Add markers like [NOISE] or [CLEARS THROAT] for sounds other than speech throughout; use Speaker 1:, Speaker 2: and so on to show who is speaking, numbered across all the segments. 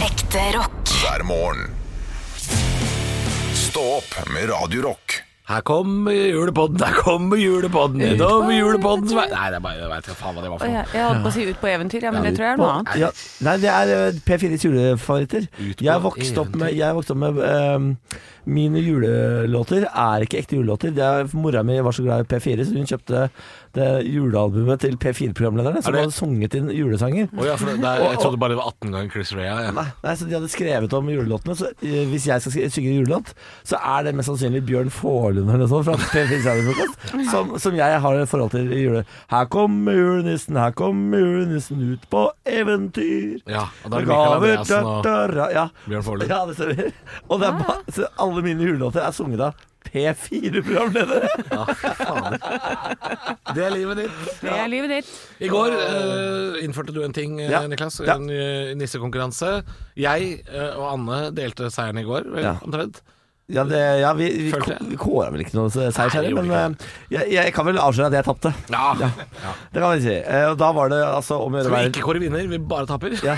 Speaker 1: Ekte rock.
Speaker 2: hver morgen. Stå opp med Radio Rock.
Speaker 3: Her kommer julepodden, her kommer julepodden, utover julepoddens vei Nei, det er bare, jeg vet ikke faen hva det var
Speaker 4: Å,
Speaker 3: for noe.
Speaker 4: jeg, jeg holdt på å si Ut på eventyr, ja, men det tror jeg er noe annet.
Speaker 5: Ja, nei, det er eh, P4s julefavoritter.
Speaker 3: Ut på
Speaker 5: Jeg vokste opp med, jeg vokste opp med eh, Mine julelåter er ikke ekte julelåter. Det er, mora mi var så glad i P4, så hun kjøpte det julealbumet til
Speaker 3: Er
Speaker 5: P4-programlederne, som
Speaker 3: det-
Speaker 5: hadde sunget inn julesanger.
Speaker 3: Å ja, for det, det er, jeg trodde bare det var 18 ganger Chris Rea. Ja.
Speaker 5: Nei, nei, så De hadde skrevet om julelåtene. Så eh, Hvis jeg skal sk- synge en julelåt, så er det mest sannsynlig Bjørn Forlund eller noe sånt fra [LAUGHS] P4s julefrokost, som, som jeg har et forhold til i jule... Her kommer julenissen, her kommer julenissen ut på eventyr.
Speaker 3: ja, og da er det Mikael
Speaker 5: Gaver, da,
Speaker 3: Andreassen og
Speaker 5: da, da, ja.
Speaker 3: Bjørn Forlund.
Speaker 5: Ja, det stemmer. Og det er bare, så alle mine julelåter er sunget av P4-programledere.
Speaker 3: Det er livet ditt.
Speaker 4: Det er livet ditt.
Speaker 3: I går eh, innførte du en ting, eh,
Speaker 5: Ja.
Speaker 3: Niklas.
Speaker 5: Ja.
Speaker 3: En eh, nissekonkurranse. Jeg eh, og Anne delte seieren i går, vel,
Speaker 5: Ja.
Speaker 3: omtrent.
Speaker 5: Ja, det, ja vi, vi,
Speaker 3: Følte jeg.
Speaker 5: vi kåra vel ikke noe seier,
Speaker 3: Nei, vi
Speaker 5: kjære,
Speaker 3: gjorde
Speaker 5: men eh, jeg, jeg kan vel avsløre at jeg tapte.
Speaker 3: Ja.
Speaker 5: Ja. Det kan vi si. Eh, Og da var det altså om å gjøre
Speaker 3: Skal
Speaker 5: å
Speaker 3: vi
Speaker 5: være
Speaker 3: ikke kåre vinner, vi bare taper.
Speaker 5: ja,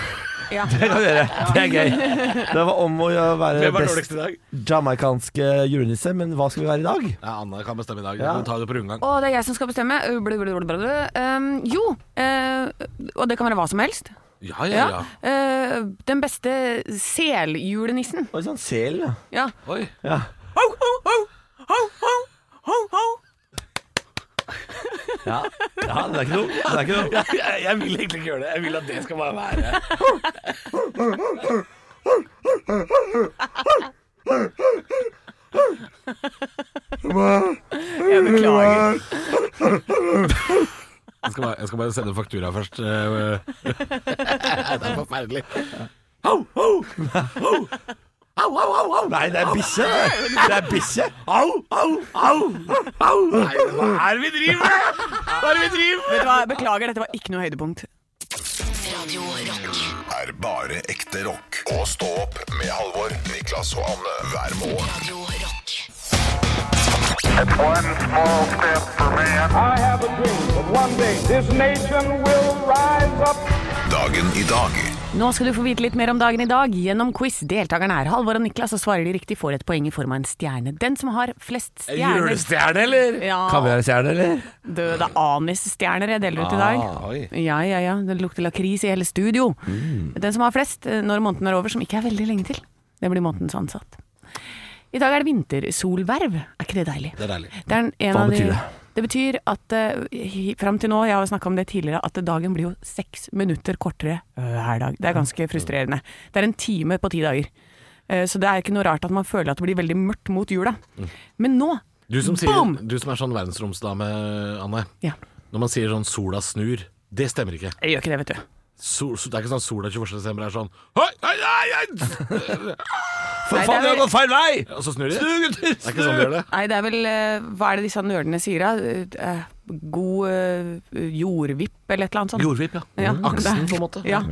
Speaker 4: Ja.
Speaker 5: [LAUGHS] det kan vi gjøre. Det er gøy. Det var om å gjøre å være
Speaker 3: Hvem var
Speaker 5: best
Speaker 3: dårligst i dag?
Speaker 5: jamaicanske julenisse, men hva skal vi være i dag?
Speaker 3: Ja, Anne kan bestemme i dag.
Speaker 5: Ja.
Speaker 3: Du tar det på rundgang.
Speaker 4: Å, det er jeg som skal bestemme. Uh, blu, blu, blu, blu, blu. Um, jo, eh, og det kan være hva som helst.
Speaker 3: Ja, ja,
Speaker 4: Ja.
Speaker 3: ja.
Speaker 4: Eh, den beste seljulenissen.
Speaker 5: Oi sånn sel, ja.
Speaker 4: Ja.
Speaker 3: Oi.
Speaker 5: ja.
Speaker 4: Ho, ho, ho, ho, ho, ho, ho.
Speaker 5: Ja, ja det er ikke noe. Det er ikke noe.
Speaker 3: Jeg, vil egentlig ikke gjøre det. Jeg vil at det skal bare være
Speaker 4: Jeg beklager.
Speaker 3: Jeg skal bare, jeg skal bare sende faktura først. eh, [LAUGHS] det er forferdelig. Ho, ho, ho. Au, au, au, au.
Speaker 5: Nei, det er bikkje. det. Det er bikkje.
Speaker 3: Au, au, au. au. Nei, hva er det vi driver med? Hva er det vi driver med?
Speaker 4: Vet du hva, beklager, dette var ikke noe høydepunkt.
Speaker 1: Radio Rock.
Speaker 2: Er bare ekte rock. Og stå opp med Halvor, Niklas og Anne hver morgen.
Speaker 1: Radio Rock.
Speaker 6: One small step for man.
Speaker 7: I have a dream that one day this nation will rise up.
Speaker 2: Dagen i dag.
Speaker 4: Nå skal du få vite litt mer om dagen i dag gjennom quiz. Deltakerne er Halvor og Niklas, og svarer de riktig, får et poeng i form av en stjerne. Den som har flest stjerner
Speaker 3: Julestjerne, eller?
Speaker 4: Ja,
Speaker 5: Kaviarstjerne, eller?
Speaker 4: du, det er anisstjerner jeg deler ut i dag.
Speaker 3: Ah, Oi. Mm.
Speaker 4: Ja, ja, ja. Det lukter lakris i hele studio. Den som har flest eh, når måneden er over, som ikke er veldig lenge til, det blir månedens ansatt. I dag er det vintersolverv. Er ikke det deilig?
Speaker 3: Det er deilig.
Speaker 4: Det er en- en
Speaker 5: Hva
Speaker 4: av
Speaker 5: betyr
Speaker 4: de,
Speaker 5: det?
Speaker 4: Det betyr at uh, fram til nå, jeg har snakka om det tidligere, at dagen blir jo seks minutter kortere eh, hver dag. Det er ganske frustrerende. Det er en time på ti dager. Eh, Så det er ikke noe rart at man føler at det blir veldig mørkt mot jula. Men nå
Speaker 3: Mm. Du som, sier,
Speaker 4: Bam!
Speaker 3: du som er sånn verdensromsdame, Anne.
Speaker 4: Ja,
Speaker 3: Når man sier sånn 'sola snur', det stemmer ikke.
Speaker 4: jeg gjør ikke det, vet du.
Speaker 3: Sol, det er ikke sånn sola 21. desember er sånn Hei, hei, hei, hei!
Speaker 5: For
Speaker 4: Nei, det
Speaker 5: faen, vi
Speaker 4: er
Speaker 5: har gått feil vei!
Speaker 3: Og så snur de. Snu, gutter! Det er ikke sånn de gjør det.
Speaker 4: Nei, det er vel eh, Hva er det disse nerdene sier, da? Eh, eh, God eh, jordvipp eller et eller annet sånt?
Speaker 3: Jordvipp, ja. Mm.
Speaker 4: Ja,
Speaker 3: Aksen,
Speaker 4: det-
Speaker 3: på en måte.
Speaker 4: Ja.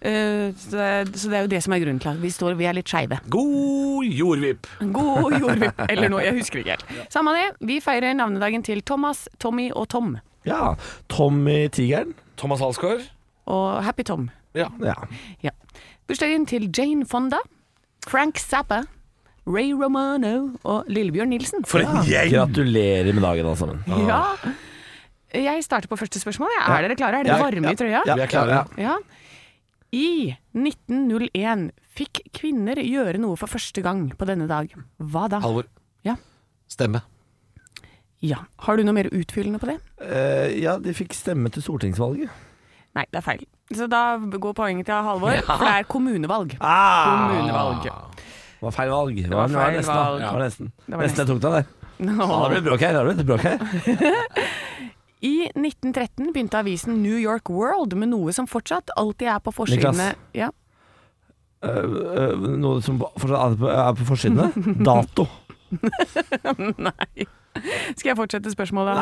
Speaker 4: Eh, så, det- så det er jo det som er grunnen til at vi, står, vi er litt skeive.
Speaker 3: God jordvipp.
Speaker 4: God jordvipp eller noe, jeg husker ikke helt. Samme det, vi feirer navnedagen til Thomas, Tommy og Tom.
Speaker 5: Ja. Tommy Tigeren.
Speaker 3: Thomas Halsgaard.
Speaker 4: Og Happy Tom.
Speaker 3: Ja.
Speaker 5: Ja.
Speaker 4: Ja. Bursdagen til Jane Fonda, Frank Zappa, Ray Romano og Lillebjørn Nilsen.
Speaker 3: For en gjeng!
Speaker 5: Gratulerer med dagen, alle sammen.
Speaker 4: Ja. Jeg starter på første spørsmål. jeg. Er dere klare? Er dere
Speaker 5: Ja,
Speaker 4: varme
Speaker 5: ja,
Speaker 4: i trøya?
Speaker 3: Vi er klare.
Speaker 5: Ja,
Speaker 4: Ja. I 1901 fikk kvinner gjøre noe for første gang på denne dag. Hva da?
Speaker 3: Halvor.
Speaker 4: Ja.
Speaker 3: Stemme.
Speaker 4: Ja. Har du noe mer utfyllende på det?
Speaker 5: Eh, ja, de fikk stemme til stortingsvalget.
Speaker 4: Nei, det er feil. Så da går poenget til Halvor, for det er kommunevalg. [LAUGHS]
Speaker 3: Ah.
Speaker 4: Kommunevalg.
Speaker 5: Det var feil valg. Det
Speaker 4: var feil
Speaker 5: nesten, da.
Speaker 4: valg.
Speaker 5: Det var nesten.
Speaker 4: var
Speaker 5: nesten jeg tok deg der. Ja, det ble bråk her. Det ble litt bråk her.
Speaker 4: I 1913 begynte avisen New York World med noe som fortsatt alltid er på forsidene
Speaker 5: Niklas.
Speaker 4: ja.
Speaker 5: Eh, eh, noe som fortsatt er på, er på forsidene. [LAUGHS] Dato.
Speaker 4: Skal jeg fortsette spørsmålet?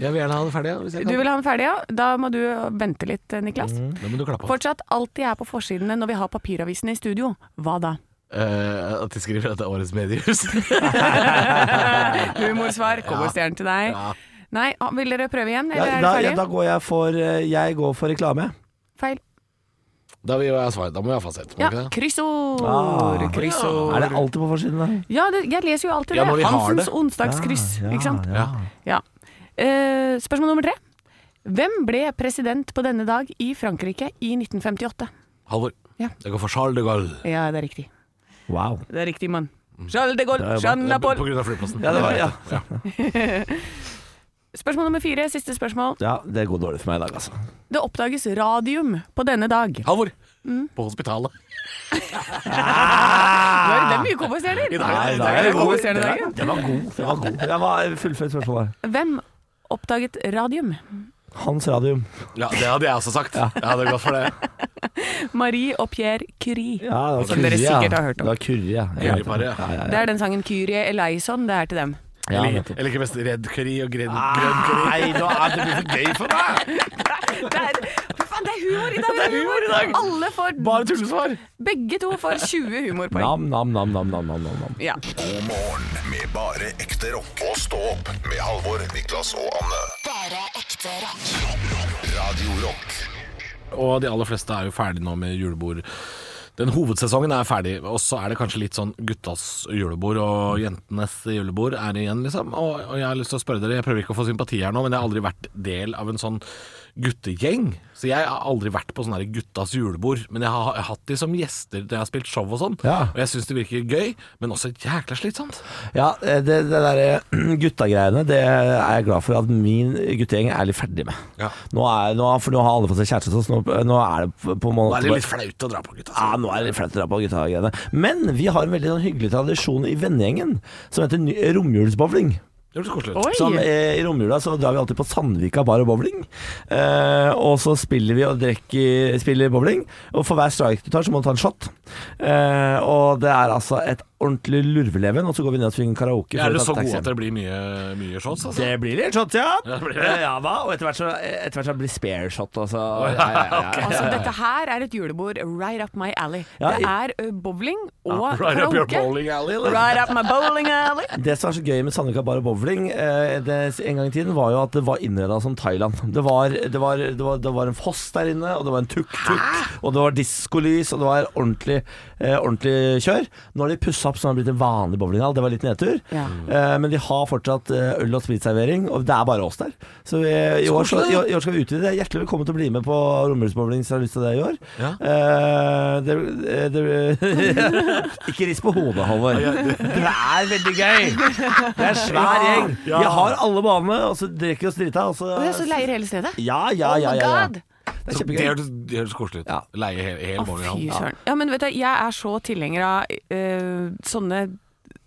Speaker 3: Jeg vil gjerne ha det ferdig. ja, Hvis jeg
Speaker 4: Du
Speaker 3: kan.
Speaker 4: vil ha den ferdig, ja? Da må du vente litt, Niklas.
Speaker 3: Da må du klappe.
Speaker 4: Fortsatt alltid er på forsidene når vi har papiravisene i studio. Hva da?
Speaker 3: Eh, at de skriver at det er årets mediehus. [LAUGHS]
Speaker 4: [LAUGHS] Humorsvar. Cowboystjerne til deg.
Speaker 3: Ja.
Speaker 4: Nei, ah, vil dere prøve igjen,
Speaker 5: Ja,
Speaker 4: eller er
Speaker 5: da,
Speaker 4: det
Speaker 5: ja, da
Speaker 4: ferdig?
Speaker 5: går jeg for eh, Jeg går for reklame.
Speaker 4: Feil.
Speaker 3: Da vil jeg ha svar. Da må vi ha fasit. må
Speaker 4: Ja,
Speaker 3: vi ikke det?
Speaker 4: kryssord!
Speaker 5: Ah.
Speaker 4: kryssord.
Speaker 5: Er det alltid på forsiden der?
Speaker 4: Ja, det, jeg leser jo alltid
Speaker 3: Ja, når vi
Speaker 4: det.
Speaker 3: har
Speaker 4: Hansens
Speaker 3: det.
Speaker 4: onsdagskryss,
Speaker 5: Ah, Ja,
Speaker 4: ikke sant?
Speaker 5: Ja.
Speaker 4: Ja. Eh, spørsmål nummer tre. Hvem ble president på denne dag i Frankrike i 1958?
Speaker 3: Halvor.
Speaker 4: Ja.
Speaker 3: Det går for Charles de Gaulle.
Speaker 4: Ja, det er riktig.
Speaker 5: Wow.
Speaker 4: Det er riktig, mann. Charles de Gaulle, Jean
Speaker 3: Det er På
Speaker 4: Napol.
Speaker 3: grunn av flyplassen.
Speaker 5: Ja, det var- ja.
Speaker 4: Spørsmål nummer fire, siste spørsmål.
Speaker 5: Ja, det går dårlig for meg i dag, altså.
Speaker 4: Det oppdages radium på denne dag.
Speaker 3: Halvor.
Speaker 5: Mm.
Speaker 3: På hospitalet.
Speaker 4: Nå er det mye kompenserende.
Speaker 3: Nei,
Speaker 5: Nei,
Speaker 4: er det
Speaker 5: god.
Speaker 4: god scene,
Speaker 5: Den er- den var god. Den var [LAUGHS] god. Jeg var fullført spørsmålet.
Speaker 4: Hvem oppdaget radium?
Speaker 5: Hans Radium.
Speaker 3: Ja, det hadde jeg også sagt. Jeg hadde gått [LAUGHS] for det.
Speaker 4: Marie og Pierre Curie.
Speaker 5: Ja, det var
Speaker 4: Som dere
Speaker 5: Curie,
Speaker 4: sikkert har hørt om.
Speaker 5: Det var Curie, ja. Jeg hørte om
Speaker 3: Curryparet,
Speaker 5: det.
Speaker 3: ja.
Speaker 5: ja,
Speaker 4: Det er den sangen Kyrie Eleison, det er til dem.
Speaker 5: ja.
Speaker 3: Eller,
Speaker 5: nettopp.
Speaker 3: eller ikke mest redd curry og grønn, grønn curry.
Speaker 5: Ah, Nei, nå er det for gøy for meg!
Speaker 4: Det er, Fy faen, det er humor i dag! Det er humor i dag. Alle får,
Speaker 3: Bare tullesvar.
Speaker 4: begge to får 20 humorpoeng.
Speaker 5: Nam, nam, nam, nam, nam, nam, nam, nam.
Speaker 4: Ja.
Speaker 2: God morgen med bare ekte rock. Og stå opp med Halvor, Niklas og Anne.
Speaker 1: Bare ekte rock.
Speaker 2: Radio Rock.
Speaker 3: Og de aller fleste er jo ferdig nå med julebord. Den hovedsesongen er ferdig, og så er det kanskje litt sånn guttas julebord og jentenes julebord er igjen, liksom. Og, og jeg har lyst til å spørre dere, jeg prøver ikke å få sympati her nå, men jeg har aldri vært del av en sånn guttegjeng. Så jeg har aldri vært på sånn her guttas julebord, men jeg har, jeg har hatt de som gjester når jeg har spilt show og sånn.
Speaker 5: Ja.
Speaker 3: Og jeg syns det virker gøy, men også jækla slitsomt.
Speaker 5: Ja, det, det der eh, [CLEARS THROAT] guttagreiene, det er jeg glad for at min guttegjeng er litt ferdig med.
Speaker 3: Ja.
Speaker 5: Nå er, nå, for nå har alle fått seg kjæreste, og sånn, så nå, nå er det på en
Speaker 3: Nå
Speaker 5: måte
Speaker 3: er det litt flaut å dra på guttas.
Speaker 5: Ja, nå er det litt flaut å dra på guttagreiene. Men vi har en veldig sånn hyggelig tradisjon i vennegjengen som heter ny- romjulsbowling.
Speaker 3: Det hørtes koselig ut.
Speaker 4: Oi!
Speaker 5: Som eh, I romjula så drar vi alltid på Sandvika bar og bowling. Eh, og så spiller vi og drikker Spiller bowling. Og for hver strike du tar, så må du ta en shot. Eh, og det er altså et ordentlig lurveleven. Og så går vi ned og synger karaoke.
Speaker 3: Er
Speaker 5: før vi
Speaker 3: dere
Speaker 5: tar
Speaker 3: så gode
Speaker 5: taxi hjem.
Speaker 3: at det blir mye, mye shots? Altså?
Speaker 5: Det blir litt shot, ja.
Speaker 3: det blir det.
Speaker 5: Eh, ja da. Og etter hvert så, eh, etter hvert så blir det spare shot. Altså. Ja, ja, ja, ja.
Speaker 4: Altså, dette her er et julebord right up my alley.
Speaker 5: Ja,
Speaker 4: det er ø, bowling og
Speaker 3: Right up your
Speaker 4: karaoke.
Speaker 3: bowling alley, eller?
Speaker 4: Right up my bowling alley.
Speaker 5: Det som er så gøy med Sandvika Bar og Bowling eh, det, en gang i tiden, var jo at det var innreda som Thailand. Det var, det, var, det, var, det var en foss der inne, og det var en tuk-tuk, og det var diskolys, og det var ordentlig, eh, ordentlig kjør. Nå har de pussa opp så det har blitt en vanlig bowlinghall. Det var litt nedtur.
Speaker 4: Ja.
Speaker 5: Eh, men de har fortsatt eh, øl- og spritservering, og det er bare oss der. Så vi, i, år, så, i, år, i år skal vi utvide det. Hjertelig velkommen til å bli med på Romjulsbowling hvis du har lyst til det i år.
Speaker 3: Ja.
Speaker 5: Eh, det, det, [LAUGHS] ikke rist på hodet, Halvor. Det er veldig gøy. Det er svær gjeng. Vi har alle banene, altså, og så drikker vi oss drita. Og så
Speaker 4: Og jeg så leier hele stedet.
Speaker 5: Ja, ja,
Speaker 4: oh
Speaker 5: ja.
Speaker 4: my
Speaker 5: ja, ja.
Speaker 4: god!
Speaker 5: Det er
Speaker 3: Så Det
Speaker 5: kjempegøy.
Speaker 3: høres det høres koselig ut.
Speaker 5: Ja.
Speaker 3: Leie hel, hel
Speaker 4: Å,
Speaker 3: bowlinghall.
Speaker 4: fy søren. Ja, men vet du, jeg er så tilhenger av ø, sånne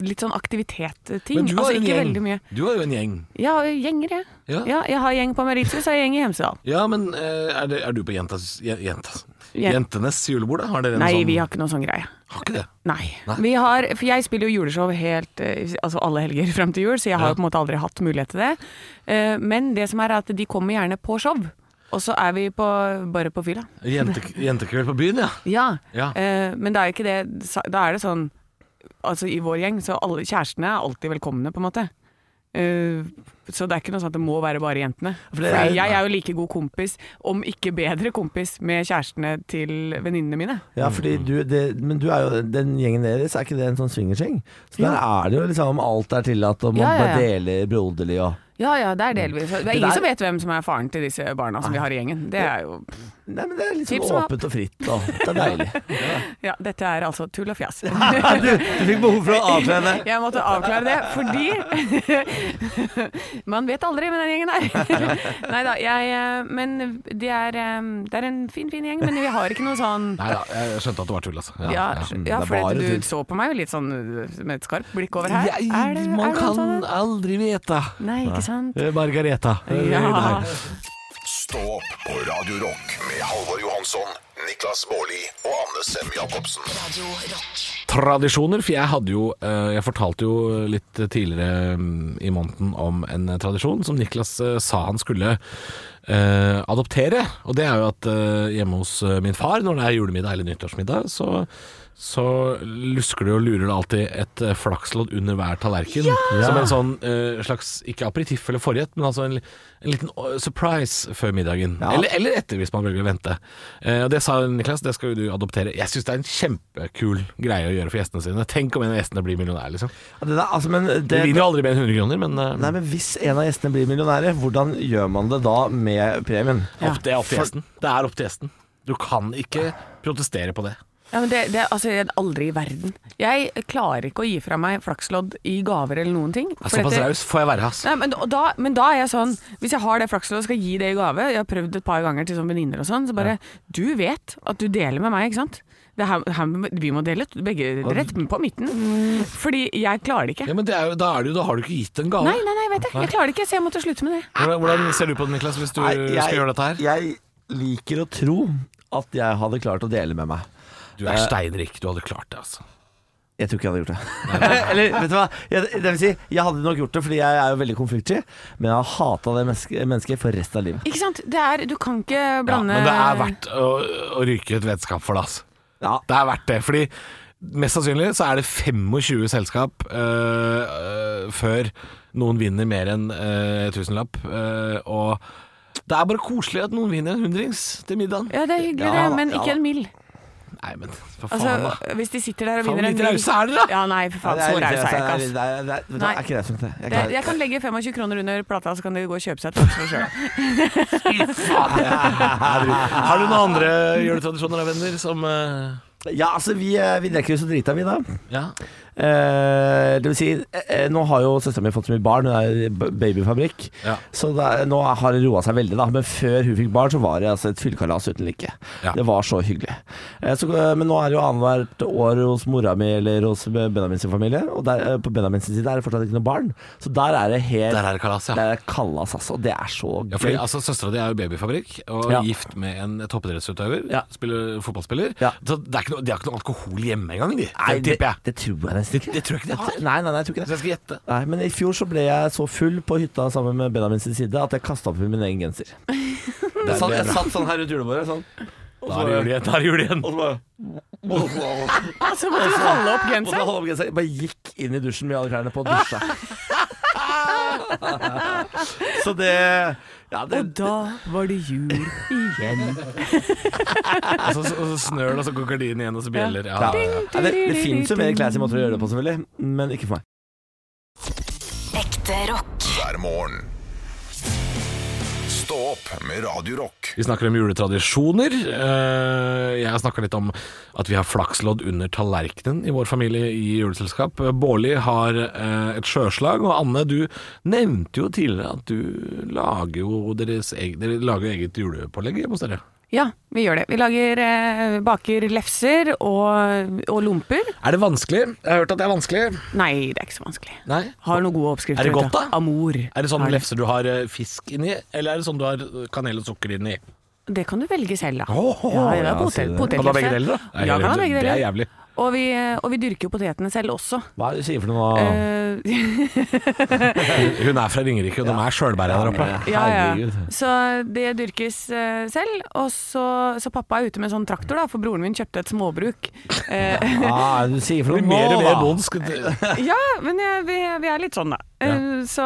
Speaker 4: litt sånn aktivitet-ting.
Speaker 3: Men du har,
Speaker 4: Altså,
Speaker 3: en
Speaker 4: ikke
Speaker 3: gjeng.
Speaker 4: veldig mye.
Speaker 3: du har jo en gjeng.
Speaker 4: Jeg har jo gjenger, jeg.
Speaker 3: Ja.
Speaker 4: Ja, jeg har gjeng på Mauritius og gjeng i Hemsedal.
Speaker 3: Ja, men eh, er, det, er du på jentas, je- jentas.
Speaker 4: Jen-
Speaker 3: jentenes julebord, da? Har dere en
Speaker 4: Nei,
Speaker 3: sånn
Speaker 4: vi har ikke noen sånn greie.
Speaker 3: Har ikke det?
Speaker 4: Nei.
Speaker 3: Nei.
Speaker 4: Vi har, for jeg spiller jo juleshow helt, eh, altså alle helger [LAUGHS] frem til jul, så jeg har
Speaker 3: Ja.
Speaker 4: jo på en måte aldri hatt mulighet til det. Eh, Men det som er at de kommer gjerne på show, og så er vi på, bare på fylla.
Speaker 3: Jente, jentekveld på byen, ja.
Speaker 4: Ja.
Speaker 3: Ja.
Speaker 4: Eh, Men da er, jo ikke det, sa- da er det sånn, altså i vår gjeng, så alle kjærestene er alltid velkomne på en måte. Eh, så det er ikke noe sånn at det må være bare jentene.
Speaker 5: For
Speaker 4: For
Speaker 5: det er-
Speaker 4: jeg er jo like god kompis, om ikke bedre kompis, med kjærestene til venninnene mine.
Speaker 5: Ja, fordi
Speaker 3: Mm.
Speaker 5: du, det, men du er jo, den gjengen deres, er ikke det en sånn swingersgjeng? Så der er det jo liksom alt er tillatt, og man
Speaker 4: Ja, ja, ja.
Speaker 5: bare deler broderlig og
Speaker 4: Ja, ja, det er delvis. Det er
Speaker 5: Det
Speaker 4: ingen
Speaker 5: der-
Speaker 4: som vet hvem som er faren til disse barna som vi har i gjengen. Det er jo
Speaker 5: Nei, men det er litt
Speaker 4: Tips
Speaker 5: sånn
Speaker 4: om
Speaker 5: åpent og fritt, og det er deilig.
Speaker 4: [LAUGHS]
Speaker 5: [LAUGHS]
Speaker 4: Ja, dette er altså tull og [LAUGHS] fjas.
Speaker 5: Du, du fikk behov for å avklare det.
Speaker 4: Jeg måtte avklare det, fordi [LAUGHS] Man vet aldri med den gjengen her. [LAUGHS] Nei da, jeg eh, Men det er, eh, det er en fin, fin gjeng, men vi har ikke noe sånn
Speaker 3: Nei da, jeg skjønte at det var tull, altså.
Speaker 4: ja, ja,
Speaker 5: det er
Speaker 4: for
Speaker 5: bare
Speaker 4: at
Speaker 5: tull.
Speaker 4: du så på meg jo litt sånn eh, med et skarpt blikk over her. Er det, er det noe sånn?
Speaker 3: aldri vite.
Speaker 4: Nei, ikke sant?
Speaker 3: Eh, Margareta. Eh,
Speaker 4: Ja.
Speaker 3: nei.
Speaker 2: Stå opp på Radio Rock med Halvor Johansson, Niklas Baarli og Anne Sem Jacobsen.
Speaker 1: Radio Rock.
Speaker 3: Tradisjoner, for jeg hadde jo eh, Jeg fortalte jo litt tidligere mm, i måneden om en tradisjon som Niklas eh, sa han eh, skulle eh, adoptere. Og det er jo at eh, hjemme hos eh, min far, når det er julemiddag eller nyttårsmiddag, så, så lusker det og lurer det alltid et eh, flakslodd under hver tallerken. Som en sånn eh, slags, ikke aperitiff eller forrett, men altså en, li- en liten eh, surprise før middagen. Eller, eller etter, hvis man velger å vente. Eh, og det sa Niklas, det skal jo du adoptere. Jeg syns det er en kjempekul greie å gjøre for gjestene sine. Tenk om en av gjestene blir millionær, liksom.
Speaker 5: Ja, det der, altså, men
Speaker 3: De
Speaker 5: det,
Speaker 3: vinner jo aldri mer enn 100 kroner, men eh,
Speaker 5: nei, men hvis en av gjestene blir millionære, hvordan gjør man det da med premien?
Speaker 3: opp, det er opp til gjesten. Det er opp til gjesten. Du kan ikke protestere på det.
Speaker 4: Ja, men det, det altså, jeg- aldri i verden. Jeg klarer ikke å gi fra meg flakslodd i gaver eller noen ting.
Speaker 3: Jeg er
Speaker 4: for
Speaker 3: Såpass
Speaker 4: dette-
Speaker 3: raus får jeg være, ass.
Speaker 4: Nei, men, og da, men da er jeg sånn Hvis jeg har det flaksloddet og skal gi det i gave Jeg har prøvd et par ganger til sånn venninner og sånn Så bare, du vet at du deler med meg, ikke sant? Det her, her, vi må dele begge rett på midten Fordi jeg klarer det ikke
Speaker 3: Ja, men det er jo, da, er det jo, da har du ikke gitt en gave.
Speaker 4: Nei, nei, nei, vet jeg Jeg klarer det ikke, så jeg måtte slutte med det
Speaker 3: Hvordan, hvordan ser du på det, Niklas, hvis du
Speaker 5: Nei, jeg-
Speaker 3: skal gjøre dette her?
Speaker 5: Jeg liker å tro at jeg hadde klart å dele med meg.
Speaker 3: Du er steinrik. Du hadde klart det, altså.
Speaker 5: Jeg tror ikke jeg hadde gjort det. [LAUGHS] Eller, vet du hva? Jeg, det vil si, jeg hadde nok gjort det, fordi jeg er jo veldig konfliktsky, men jeg har hata det menneske, mennesket for resten av livet.
Speaker 4: Ikke sant? Det er, du kan ikke
Speaker 3: Ja,
Speaker 4: blande
Speaker 3: men det er verdt å, å ryke et vennskap for det, ass.
Speaker 5: Ja.
Speaker 3: Det er verdt det. Fordi mest sannsynlig så er det 25 selskap øh, øh, før noen vinner mer enn øh, tusenlapp. øh, og det er bare koselig at noen vinner en hundrings til middagen.
Speaker 4: Ja, det er hyggelig
Speaker 5: Ja da,
Speaker 4: det, men
Speaker 5: ja
Speaker 4: ikke
Speaker 5: da.
Speaker 4: en mil
Speaker 3: Nei, men for faen, da.
Speaker 4: Altså, hvis de sitter der og
Speaker 3: Faen,
Speaker 4: vinner en
Speaker 3: litt
Speaker 4: mil
Speaker 3: rause er dere, da.
Speaker 4: Ja, nei, for faen,
Speaker 5: det
Speaker 4: så
Speaker 5: litt-
Speaker 4: raus er jeg ikke,
Speaker 5: det
Speaker 4: ass
Speaker 5: er- det er- det er- vet du hva,
Speaker 4: Nei.
Speaker 5: Jeg er ikke raus nok, det. Jeg
Speaker 4: Det-
Speaker 5: er ikke
Speaker 4: jeg
Speaker 5: raus.
Speaker 4: kan legge 25 kroner under plata, så kan dere gå og kjøpe seg et flakslodd selv
Speaker 3: Har du
Speaker 5: [LAUGHS]
Speaker 3: noen andre juletradisjoner da, venner, som øh,
Speaker 5: Ja, altså, vi, eh, vi drikker jo så drita, vi, da.
Speaker 3: Ja.
Speaker 5: Eh, det vil si, eh, eh, nå har jo søstera mi fått så mye barn, hun er i b- babyfabrikk.
Speaker 3: Ja.
Speaker 5: Så da, nå har det roa seg veldig, da. Men før hun fikk barn, så var det altså et fyllekalas uten like.
Speaker 3: Ja.
Speaker 5: Det var så hyggelig. Eh, så, eh, men nå er det jo annethvert år hos mora mi eller hos Benjamin sin familie. Og der, eh, på Benjamin sin side er det fortsatt ikke noe barn. Så der er det helt
Speaker 3: Der er det kalas, ja.
Speaker 5: Der er det kalas, altså. Og det er så
Speaker 3: Ja, fordi
Speaker 5: gøy.
Speaker 3: altså, Søstera di er jo babyfabrikk og
Speaker 5: Ja.
Speaker 3: gift med en toppidrettsutøver.
Speaker 5: Ja.
Speaker 3: Spiller, fotballspiller.
Speaker 5: Ja.
Speaker 3: Så det er ikke noe, De har ikke noe alkohol hjemme engang, de.
Speaker 5: Nei,
Speaker 3: det
Speaker 5: det,
Speaker 3: tipper jeg.
Speaker 5: det tror jeg nesten ikke.
Speaker 3: det tror jeg ikke de har.
Speaker 5: Nei, nei, nei, jeg tror ikke
Speaker 3: Så
Speaker 5: det.
Speaker 3: jeg skal gjette.
Speaker 5: Nei, men i fjor så ble jeg så full på hytta sammen med Benjamin sin side at jeg kasta opp i min egen
Speaker 4: [LAUGHS]
Speaker 5: genser. Jeg satt, jeg satt sånn her rundt julebordet, sånn.
Speaker 3: Da er det jul igjen. Da er det jul igjen.
Speaker 5: Og så bare
Speaker 4: Så Altså, måtte du holde opp
Speaker 5: og så
Speaker 4: genseren.
Speaker 5: holdt jeg opp genseren. Bare gikk inn i dusjen med alle klærne på
Speaker 4: [LAUGHS]
Speaker 5: og dusja. Så det Ja, det
Speaker 4: Og da var det jul igjen.
Speaker 3: Og så, og så snør det, og så går gardinen igjen, og så bjeller ja,
Speaker 5: ja,
Speaker 3: ja, ja.
Speaker 5: ja, det, det fins jo mer classy måter å gjøre det på, selvfølgelig, men ikke for meg.
Speaker 1: Ekte rock.
Speaker 2: hver morgen. Stå opp med Radio Rock.
Speaker 3: Vi snakker om juletradisjoner. Eh, Jeg snakker litt om at vi har flakslodd under tallerkenen i vår familie i juleselskap. Bårli har eh, et sjøslag, og Anne, du nevnte jo tidligere at du lager jo deres eget, dere lager jo eget julepålegg hjemme hos dere.
Speaker 4: [LAUGHS] Ja, vi gjør det. Vi lager, eh, baker lefser og, og lomper.
Speaker 3: Er det vanskelig? Jeg har hørt at det er vanskelig.
Speaker 4: Nei, det er ikke så vanskelig.
Speaker 3: Nei?
Speaker 4: Har noen gode oppskrifter.
Speaker 3: Er det
Speaker 4: vet
Speaker 3: godt,
Speaker 4: du.
Speaker 3: da?
Speaker 4: Amor.
Speaker 3: Er det sånn
Speaker 4: Har
Speaker 3: lefser du har eh, fisk inni, eller er det sånn du har eh, kanel og sukker inni?
Speaker 4: Det kan du velge selv, da.
Speaker 3: Åh,
Speaker 4: ja, det
Speaker 5: ja,
Speaker 4: er
Speaker 5: sier
Speaker 4: potet,
Speaker 5: du det.
Speaker 4: potetlefse.
Speaker 3: Kan du ha begge deler, da? Nei,
Speaker 4: Ja, kan ha begge
Speaker 3: det er
Speaker 4: deler.
Speaker 3: jævlig.
Speaker 4: Og vi, eh, og vi dyrker jo potetene selv også.
Speaker 5: Hva er det du sier for noe?
Speaker 4: Eh, [LAUGHS]
Speaker 3: Hun er fra Ringerike, og de er sjølbæra der oppe.
Speaker 4: ja, ja.
Speaker 5: Herregud.
Speaker 4: Så det dyrkes eh, selv. Og så, så pappa er ute med en sånn traktor, da, for broren min kjøpte et småbruk. Eh,
Speaker 5: Hva er det du sier for
Speaker 3: Blir
Speaker 5: noe?
Speaker 3: mer og
Speaker 5: nå, da?
Speaker 3: mer bondsk. Det
Speaker 4: Ja, men jeg, vi, vi er litt sånn, da. Eh, Så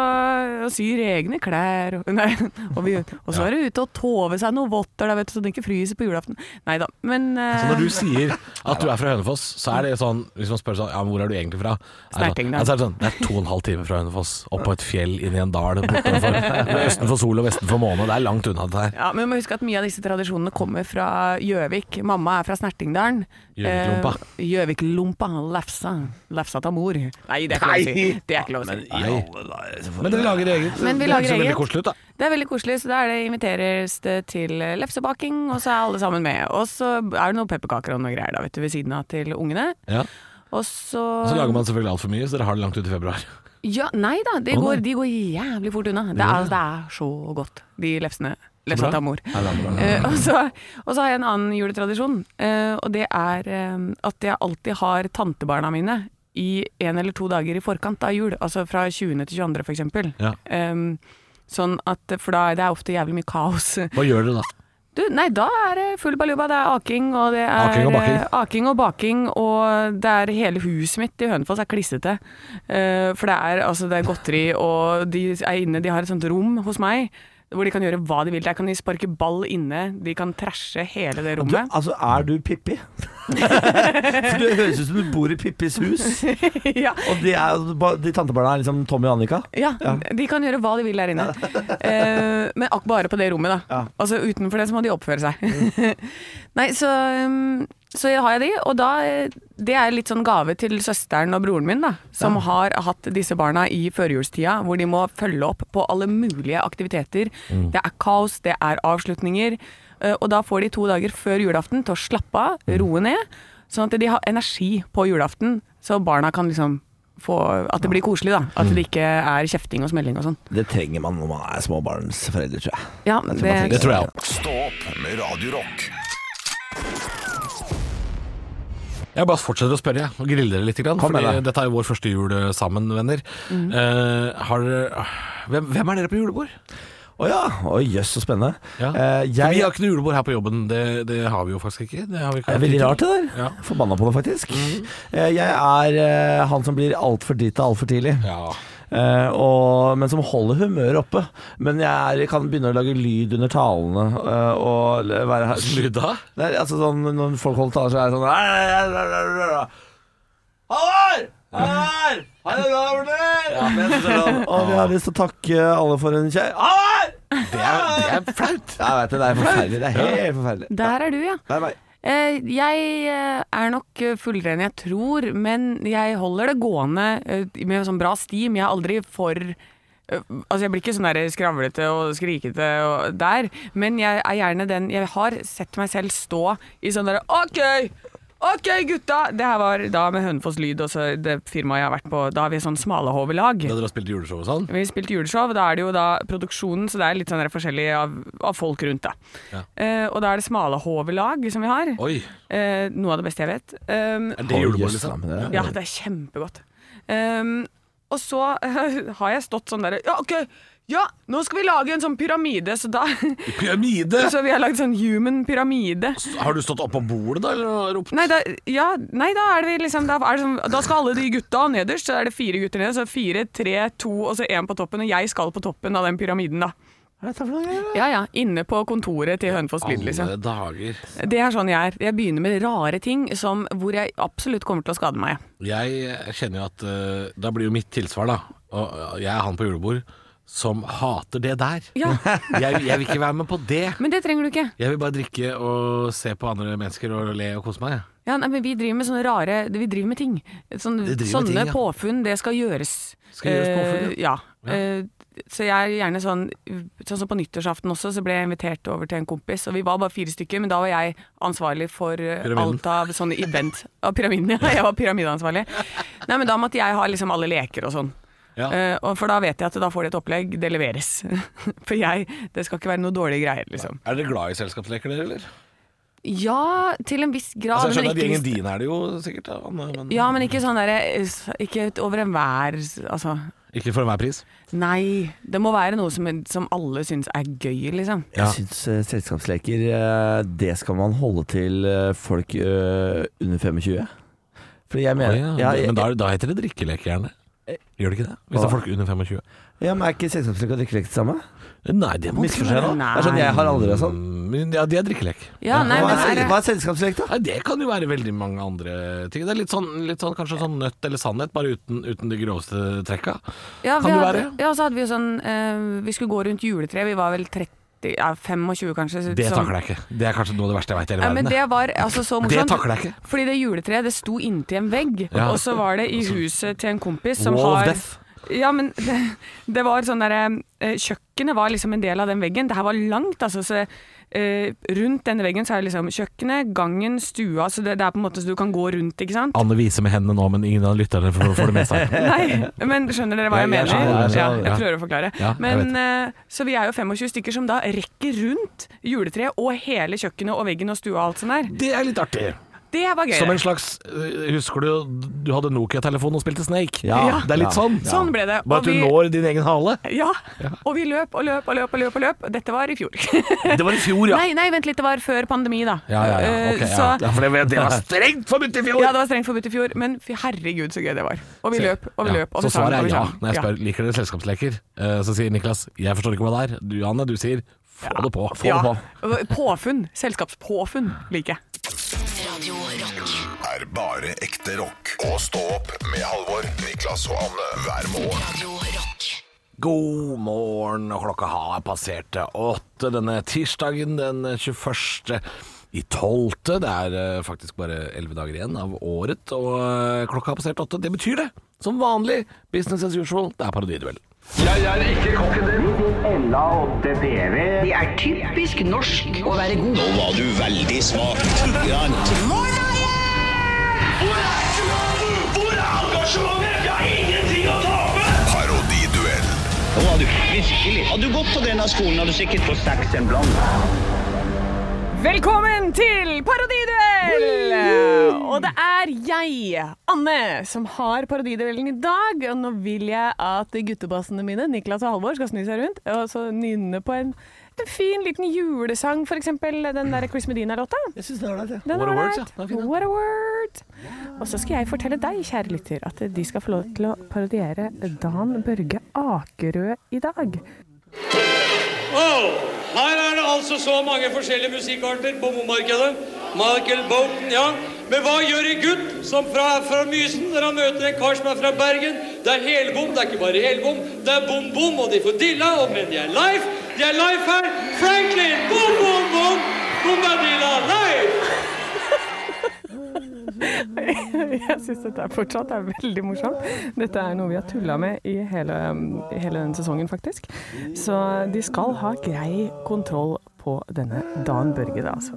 Speaker 4: og syr egne klær. Og, [LAUGHS] nei, og, vi, og så er det ute og tove seg noe votter, da, vet du, så den ikke fryser på julaften. Nei da, men eh,
Speaker 3: Så Altså, når du sier at du er fra Hønefoss, så er det sånn Hvis man spør sånn Ja, men hvor er du egentlig fra? Er det sånn,
Speaker 4: Snertingdal.
Speaker 3: ja, så er det sånn Det er to og en halv time fra Hønefoss. Opp på et fjell, inn i en dal. Bortenfor, østen for sol og vesten for måne. Det er langt unna dette her.
Speaker 4: ja, men vi må huske at mye av disse tradisjonene kommer fra Gjøvik. Mamma er fra Snertingdalen.
Speaker 3: Gjøviklumpa.
Speaker 4: Eh, Gjøviklumpa. Lefsa. Lefsa ta mor. Nei, det er ikke lov å si. Det er ikke lov å si.
Speaker 3: Nei. Men dere lager eget.
Speaker 4: Men vi
Speaker 3: Det høres
Speaker 4: lager
Speaker 3: jo
Speaker 4: eget.
Speaker 3: veldig koselig ut, da.
Speaker 4: Det er veldig koselig, så da er det inviteres det til eh, lefsebaking, og så er alle sammen med. Og så er det noen pepperkaker og noe greier da, vet du, ved siden av til ungene.
Speaker 3: Ja.
Speaker 4: Og så
Speaker 3: Og så lager man selvfølgelig altfor mye, så dere har det langt ut i februar.
Speaker 4: Ja, nei da, de
Speaker 3: Å,
Speaker 4: går,
Speaker 3: nei.
Speaker 4: de går jævlig fort unna. Det er, altså, det er så godt, de lefsene. Lefsa
Speaker 3: bra.
Speaker 4: til mor. Eh, og, så, og så har jeg en annen juletradisjon, eh, og det er eh, at jeg alltid har tantebarna mine i en eller to dager i forkant av jul, altså fra 20. til 22. for eksempel.
Speaker 3: Ja.
Speaker 4: Eh, Sånn at, for da er det ofte jævlig mye kaos.
Speaker 3: Hva gjør dere da?
Speaker 4: Du, nei, da er det full baluba. Det er aking, og det er
Speaker 3: Aking og baking.
Speaker 4: eh, aking og baking, og det er hele huset mitt i Hønefoss er klissete. Eh, for det er, altså, det er godteri, og de er inne, de har et sånt rom hos meg. Hvor de kan gjøre hva de vil. Der kan de sparke ball inne, de kan trashe hele det
Speaker 5: Du,
Speaker 4: rommet. [LAUGHS]
Speaker 5: altså, er du
Speaker 3: [LAUGHS]
Speaker 5: Pippi? For det høres ut som du bor i Pippis hus,
Speaker 4: ja,
Speaker 5: og de, er, de tantebarna er liksom Tommy og Annika.
Speaker 4: Ja, de kan gjøre hva de vil der inne. Eh, men ak bare på det rommet, da.
Speaker 5: Ja.
Speaker 4: Altså Utenfor det så må de oppføre seg. Nei, så, um, så har jeg de, og da eh, Det er litt sånn gave til søsteren og broren min, da. Som har hatt disse barna i førjulstida, hvor de må følge opp på alle mulige aktiviteter.
Speaker 5: Mm.
Speaker 4: Det er kaos, det er avslutninger. eh, og da får de to dager før julaften til å slappe av,
Speaker 5: Mm.
Speaker 4: roe ned. Sånn at de har energi på julaften, så barna kan liksom få, at det blir koselig, da.
Speaker 5: Mm.
Speaker 4: At det ikke er kjefting og smelling og sånn.
Speaker 5: Det trenger man når man er småbarnsforelder, tror jeg.
Speaker 4: Ja, det,
Speaker 5: Jeg man trenger
Speaker 3: Det tror jeg òg.
Speaker 2: Stå opp med Radio Rock.
Speaker 3: Jeg bare fortsetter å spørre jeg, og grille dere litt. Grann,
Speaker 5: Kom med
Speaker 3: fordi
Speaker 5: det.
Speaker 3: dette er jo vår første jul eh, sammen, venner.
Speaker 4: Mhm.
Speaker 3: Eh, har, dere- hvem, hvem er dere på julebord?
Speaker 5: Å ja, Å, jøs, så spennende.
Speaker 3: Ja. For
Speaker 5: Eh,
Speaker 3: vi
Speaker 5: jeg
Speaker 3: har ikke noe julebord her på jobben. Det, det har vi jo faktisk ikke. Det har vi ikke
Speaker 5: Det er
Speaker 3: hatt
Speaker 5: veldig
Speaker 3: hittil.
Speaker 5: rart, det der.
Speaker 3: Ja. Mhm.
Speaker 5: Forbanna på det, faktisk. Eh, Jeg er eh, han som blir altfor drita altfor tidlig,
Speaker 3: Ja.
Speaker 5: Eh, og, men som holder humøret oppe. Men jeg er, kan begynne å lage lyd under talene eh, og l- være her
Speaker 3: Lyd da?
Speaker 5: Nei, altså sånn Når folk holder taler, så er jeg sånn Halvor! Halvor! Ha det bra, Morten! Men så er det sånn, Og vi har lyst til å takke alle for en kjær... Halvor!
Speaker 3: Det er, det er flaut.
Speaker 5: Jeg vet det, det er forferdelig. Det er helt forferdelig.
Speaker 4: der er du, ja.
Speaker 5: Det er meg.
Speaker 4: Eh, jeg eh, er nok eh, fullere enn jeg tror, men jeg holder det gående eh, med sånn bra stim. Jeg er aldri for eh, Altså, jeg blir ikke sånn der skravlete og skrikete og der, men jeg er gjerne den Jeg har sett meg selv stå i sånn derre OK! OK, gutta! Det her var da med Hønefoss Lyd og så det firmaet jeg har vært på. Da har vi sånn smalahovelag.
Speaker 3: Da dere har spilt juleshow og sånn?
Speaker 4: Vi spilte juleshow, da er det jo da produksjonen, så det er litt sånn der forskjellig av, av folk rundt, da.
Speaker 3: Ja.
Speaker 4: Eh, og da er det smale hovelag som vi har.
Speaker 3: Oi,
Speaker 4: Eh, noe av det beste jeg vet. Um,
Speaker 3: er det
Speaker 5: Å,
Speaker 3: julebord,
Speaker 5: jøss,
Speaker 3: liksom?
Speaker 5: da, men det er-
Speaker 4: ja, det er kjempegodt. Um, og så [LAUGHS] har jeg stått sånn derre Ja, OK! Ja, nå skal vi lage en sånn pyramide, så da [LAUGHS]
Speaker 3: Pyramide!
Speaker 4: Så vi har lagd sånn human pyramide.
Speaker 3: Har du stått oppå bordet da, eller ropt?
Speaker 4: Nei da, ja, nei, da er det vi liksom da, er det sånn, da skal alle de gutta nederst, så er det fire gutter nederst. Så fire, tre, to og så én på toppen. Og jeg skal på toppen av den pyramiden, da.
Speaker 5: Hva er dette for noe greier?
Speaker 4: Ja, ja. Inne på kontoret til Hønefoss Lyd, liksom.
Speaker 3: Alle dager.
Speaker 4: Det er sånn jeg er. Jeg begynner med rare ting som, hvor jeg absolutt kommer til å skade meg.
Speaker 3: Jeg kjenner jo at eh, Da blir jo mitt tilsvar, da. Og eh, jeg er han på julebord som hater det der.
Speaker 4: Ja,
Speaker 5: [LAUGHS]
Speaker 3: Jeg, jeg vil ikke være med på det.
Speaker 4: Men det trenger du ikke.
Speaker 3: Jeg vil bare drikke og se på andre mennesker og le og kose meg. jeg.
Speaker 4: Ja, nei, men vi driver med sånne rare Vi driver med ting. Sånn,
Speaker 3: Det driver
Speaker 4: sånne
Speaker 3: med ting, ja.
Speaker 4: påfunn, det skal gjøres.
Speaker 3: Skal gjøres påfunn,
Speaker 4: Eh, ja. Eh, så jeg er gjerne sånn Sånn som på nyttårsaften også, så ble jeg invitert over til en kompis. Og vi var bare fire stykker, men da var jeg ansvarlig for eh,
Speaker 3: Pyramiden.
Speaker 4: alt av sånne event. Av pyramiden, ja. Jeg var pyramideansvarlig. Nei, men da måtte jeg ha liksom alle leker og sånn.
Speaker 3: Ja.
Speaker 4: Eh, og for da vet jeg at da får de et opplegg, det leveres. [LAUGHS] for jeg, det skal ikke være noe dårlige greier, liksom.
Speaker 3: Er dere glad i selskapsleker, dere, eller?
Speaker 4: Ja, til en viss grad.
Speaker 3: altså, jeg skjønner
Speaker 4: men
Speaker 3: at
Speaker 4: ikke hvis-
Speaker 3: Gjengen din er det jo sikkert, da, Anne, men
Speaker 4: Ja, men ikke sånn derre Ikke over enhver Altså.
Speaker 3: ikke for enhver pris.
Speaker 4: Nei. Det må være noe som, som alle syns er gøy, liksom.
Speaker 5: Jeg syns eh, selskapsleker eh, Det skal man holde til eh, folk eh, under 25. Fordi jeg mener
Speaker 3: Å,
Speaker 5: ja,
Speaker 3: ja. Eh,
Speaker 5: jeg,
Speaker 3: Men da, er- da heter det drikkeleker, gjerne. Gjør det ikke det? Hvis det er folk under 25?
Speaker 5: ja, men Er ikke selskapslek og drikkelek det samme?
Speaker 3: Nei, det må Mm,
Speaker 5: Misforstår jeg nå?
Speaker 4: Nei.
Speaker 5: Det er sånn jeg har aldri
Speaker 3: altså.
Speaker 5: vært sånn.
Speaker 3: Men Ja, det er drikkelek.
Speaker 4: Ja, nei,
Speaker 5: hva,
Speaker 4: men
Speaker 5: er,
Speaker 4: er
Speaker 5: hva
Speaker 4: det,
Speaker 5: er selskapslek, da?
Speaker 3: Nei, Det kan jo være veldig mange andre ting. Det er litt sånn, litt sånn kanskje sånn nøtt eller sannhet, bare uten, uten de groveste trekka.
Speaker 4: ja,
Speaker 3: kan
Speaker 4: vi
Speaker 3: det
Speaker 4: hadde,
Speaker 3: være?
Speaker 4: Ja, så hadde vi jo sånn eh, Vi skulle gå rundt juletreet, vi var vel 30 ja, 25, kanskje. så-
Speaker 3: Det
Speaker 4: sånn.
Speaker 3: takler jeg ikke. Det er kanskje noe av det verste jeg veit i hele
Speaker 4: Nei, men
Speaker 3: verden. jeg.
Speaker 4: det var altså så
Speaker 3: Det
Speaker 4: morsomt.
Speaker 3: takler jeg ikke.
Speaker 4: Fordi det juletreet det sto inntil en vegg,
Speaker 3: Ja. Altså-
Speaker 4: og så var det i huset til en kompis som
Speaker 3: Wall of
Speaker 4: har
Speaker 3: death.
Speaker 4: Ja, men [LAUGHS] det, det var sånn derre eh, Kjøkkenet var liksom en del av den veggen. Det her var langt, altså. Så, eh, rundt denne veggen så er det liksom kjøkkenet, gangen, stua. Så det, det er på en måte så du kan gå rundt, ikke sant?
Speaker 3: Anne viser med hendene nå, men ingen av lytterne får, får det med
Speaker 4: [LAUGHS]
Speaker 3: seg.
Speaker 4: Nei, men skjønner dere hva jeg,
Speaker 5: Jeg- jeg
Speaker 4: mener?
Speaker 5: skjønner, jeg
Speaker 4: ja,
Speaker 5: skjønner.
Speaker 4: jeg prøver å forklare.
Speaker 3: Ja, jeg
Speaker 4: men, eh, så vi er jo 25 stykker som da rekker rundt juletreet og hele kjøkkenet og veggen og stua og alt sånn der.
Speaker 3: Det er litt artig.
Speaker 4: Det var gøy.
Speaker 3: Som en slags øh, Husker du du hadde Nokia-telefon og spilte Snake?
Speaker 5: Ja.
Speaker 3: Det er litt
Speaker 5: Ja.
Speaker 3: sånn.
Speaker 4: Sånn ble det.
Speaker 3: Bare
Speaker 4: Og
Speaker 3: at du
Speaker 4: vi-
Speaker 3: når din egen hale.
Speaker 4: Ja. Og vi løp og løp og løp og løp. og løp Dette var i fjor.
Speaker 3: Det var i fjor, ja.
Speaker 4: Nei, nei, vent litt, det var før pandemi, da.
Speaker 3: Ja, ja, ja.
Speaker 4: Eh,
Speaker 3: Ok, ja.
Speaker 4: så-
Speaker 3: ja for det, det var strengt forbudt i fjor!
Speaker 4: Ja, det var strengt forbudt i fjor, men fy- herregud så gøy det var. Og vi løp, og vi
Speaker 3: Ja.
Speaker 4: løp. Og vi
Speaker 3: Så svaret
Speaker 4: sang, og
Speaker 3: er
Speaker 4: vi
Speaker 3: ja.
Speaker 4: sang.
Speaker 3: Når jeg spør liker dere selskapsleker, Eh, så sier Niklas jeg forstår ikke hva det er. Du, Anne, du sier få det på. Få
Speaker 4: Ja.
Speaker 3: det på.
Speaker 4: Påfunn. Selskapspåfunn liker jeg.
Speaker 1: Radio Rock.
Speaker 2: er bare ekte rock. Og stå opp med Halvor, Niklas og Anne hver morgen.
Speaker 1: Radio Rock.
Speaker 3: God morgen, og klokka har passert åtte denne tirsdagen den 21. I tolvte, det er eh, faktisk bare elleve dager igjen av året, og eh, klokka har passert åtte. Det betyr det! Som vanlig, business as usual. Det er parodiduell.
Speaker 8: Det er typisk norsk å være god. Nå var du veldig smak.
Speaker 9: Hvor er engasjementet? Hvor er engasjementet? Jeg har ingenting å tape!
Speaker 2: Parodiduell.
Speaker 8: Nå var du virkelig. Hadde du gått på denne skolen, hadde du sikkert fått seks en blant.
Speaker 4: Velkommen til Parodiduell! Og det er jeg, Anne, som har parodiduellen i dag. Og nå vil jeg at guttebassene mine, Niklas og Halvor, skal snu seg rundt og så nynne på en, en fin liten julesang, f.eks. den der Chris Medina-låta.
Speaker 5: Jeg syns det er ålreit, jeg.
Speaker 4: Den
Speaker 3: What
Speaker 4: er
Speaker 3: a word,
Speaker 4: ålreit.
Speaker 3: ja. Den er fin, den.
Speaker 4: What a word. Og så skal jeg fortelle deg, kjære lytter, at de skal få lov til å parodiere Dan Børge Akerø i dag.
Speaker 10: Her er det altså så mange forskjellige musikkarter på bomarkedet. Michael Bolton, ja. Men hva gjør en gutt som fra, er fra Mysen når han møter en kar som er fra Bergen? Det er helbom, det er ikke bare helbom. Det er bom-bom, og de får dilla, og, men de er live. De er live her. Franklin! Bom-bom-bom! Bombadilla live!
Speaker 4: [LAUGHS] Jeg syns dette er fortsatt er veldig morsomt. Dette er noe vi har tulla med i hele, i hele denne sesongen, faktisk. Så de skal ha grei kontroll på denne Dan Børge, da, altså.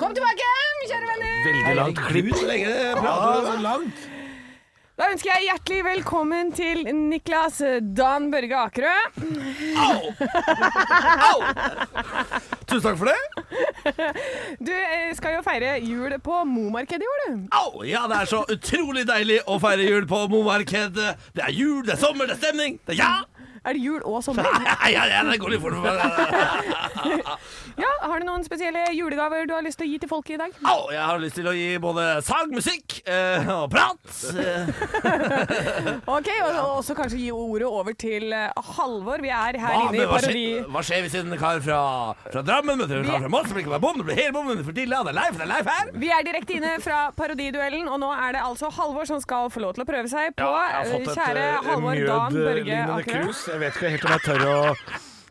Speaker 4: Kom tilbake, kjære venner!
Speaker 3: Veldig langt klipp.
Speaker 5: Gud, så lenge det prater så langt.
Speaker 4: Da ønsker jeg hjertelig velkommen til Niklas Dan Børge Akerø.
Speaker 5: Tusen takk for det.
Speaker 4: Du eh, skal jo feire jul på Momarkedet i år, du.
Speaker 5: Au! Ja, det er så utrolig deilig å feire jul på Momarkedet. Det er jul, det er sommer, det er stemning. Det er ja! [LAUGHS]
Speaker 4: Er det jul og [LAUGHS] sommer?
Speaker 5: Ja, ja, ja, det går litt fort for meg.
Speaker 4: Ja, Har du noen spesielle julegaver du har lyst til å gi til folket i dag?
Speaker 5: Au! Jeg har lyst til å gi både sang, musikk eh, og prat. Eh,
Speaker 4: Ok, Og og også kanskje gi ordet over til eh, Halvor. Vi er her inne
Speaker 5: hva- men
Speaker 4: i
Speaker 5: hva,
Speaker 4: parodi...
Speaker 5: skjer, hva skjer hvis en kar fra, fra Drammen møter en kar fra Moss? Det blir ikke bare bom, det blir hele bommen. Det blir dilla, det er leif, det er leif her.
Speaker 4: Vi er direkte inne fra parodiduellen, og nå er det altså Halvor som skal få lov til å prøve seg på eh, kjære Halvor Dan Børge Akerø.
Speaker 3: eh, Jeg vet ikke helt om jeg tør å,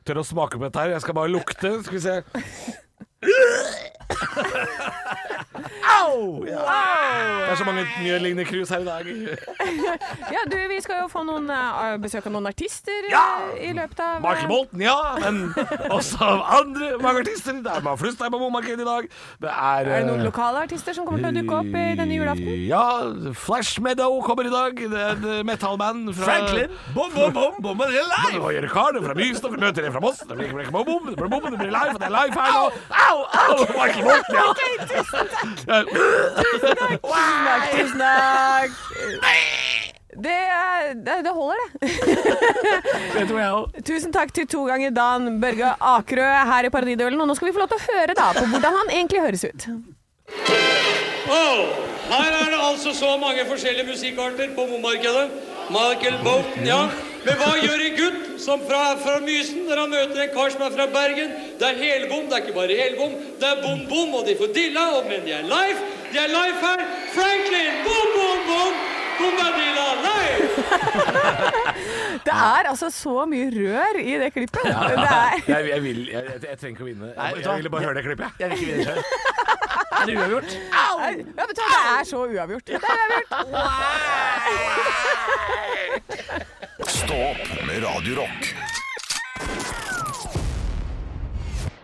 Speaker 3: tør å smake på dette her. Jeg skal bare lukte. Skal vi se.
Speaker 5: Au! Ja.
Speaker 3: Det er så mange mjødlignende krus her i dag.
Speaker 4: Ja, du, vi skal jo få noen, eh, besøk av noen artister eh,
Speaker 3: Ja!
Speaker 4: i løpet av eh,
Speaker 3: Michael Bolton, ja, men også av andre mange artister. Det er bare flust her på bomarkedet i dag. Det er,
Speaker 4: Er det noen lokale artister som kommer til å dukke opp i denne julaften?
Speaker 3: Ja, Flash Meadow kommer i dag. Det er et metallband fra
Speaker 5: Franklin. Bom, bom, bom, bom, det er
Speaker 3: Det
Speaker 5: leif.
Speaker 3: var Jørgen Karl, det er fra Mysen, og vi møter en fra Moss. Det blir ikke bom, bom, det blir bom, det blir live, og det er live her nå. Au, au, Michael Bolton, ja.
Speaker 4: Tusen takk, tusen takk. Det, er- det, det holder, det. [LAUGHS]
Speaker 3: Det tror jeg også.
Speaker 4: Tusen takk til to ganger Dan Børge Akerø her i Paradiduellen. Og nå skal vi få lov til å høre da på hvordan han egentlig høres ut.
Speaker 10: Wow! Her er det altså så mange forskjellige musikkarter på bomarkedet. Michael Bolton, ja. Men hva gjør en gutt som fra, er fra Mysen når han møter en kar som er fra Bergen? Det er helbom, det er ikke bare helbom. Det er bom-bom, og de får dilla, og, men de er live. De er live her. Franklin! Bom-bom-bom! Bombadilla live!
Speaker 4: Det er altså så mye rør i det klippet. Det er
Speaker 3: Jeg, jeg vil, jeg, jeg, jeg trenger ikke å vinne. Jeg, jeg ville bare høre det klippet, jeg.
Speaker 5: Jeg vil ikke vinne sjøl. Er det uavgjort?
Speaker 4: Nei, Ja, vet du hva, det er så uavgjort. Det er uavgjort.
Speaker 2: Stå opp med Radio Rock.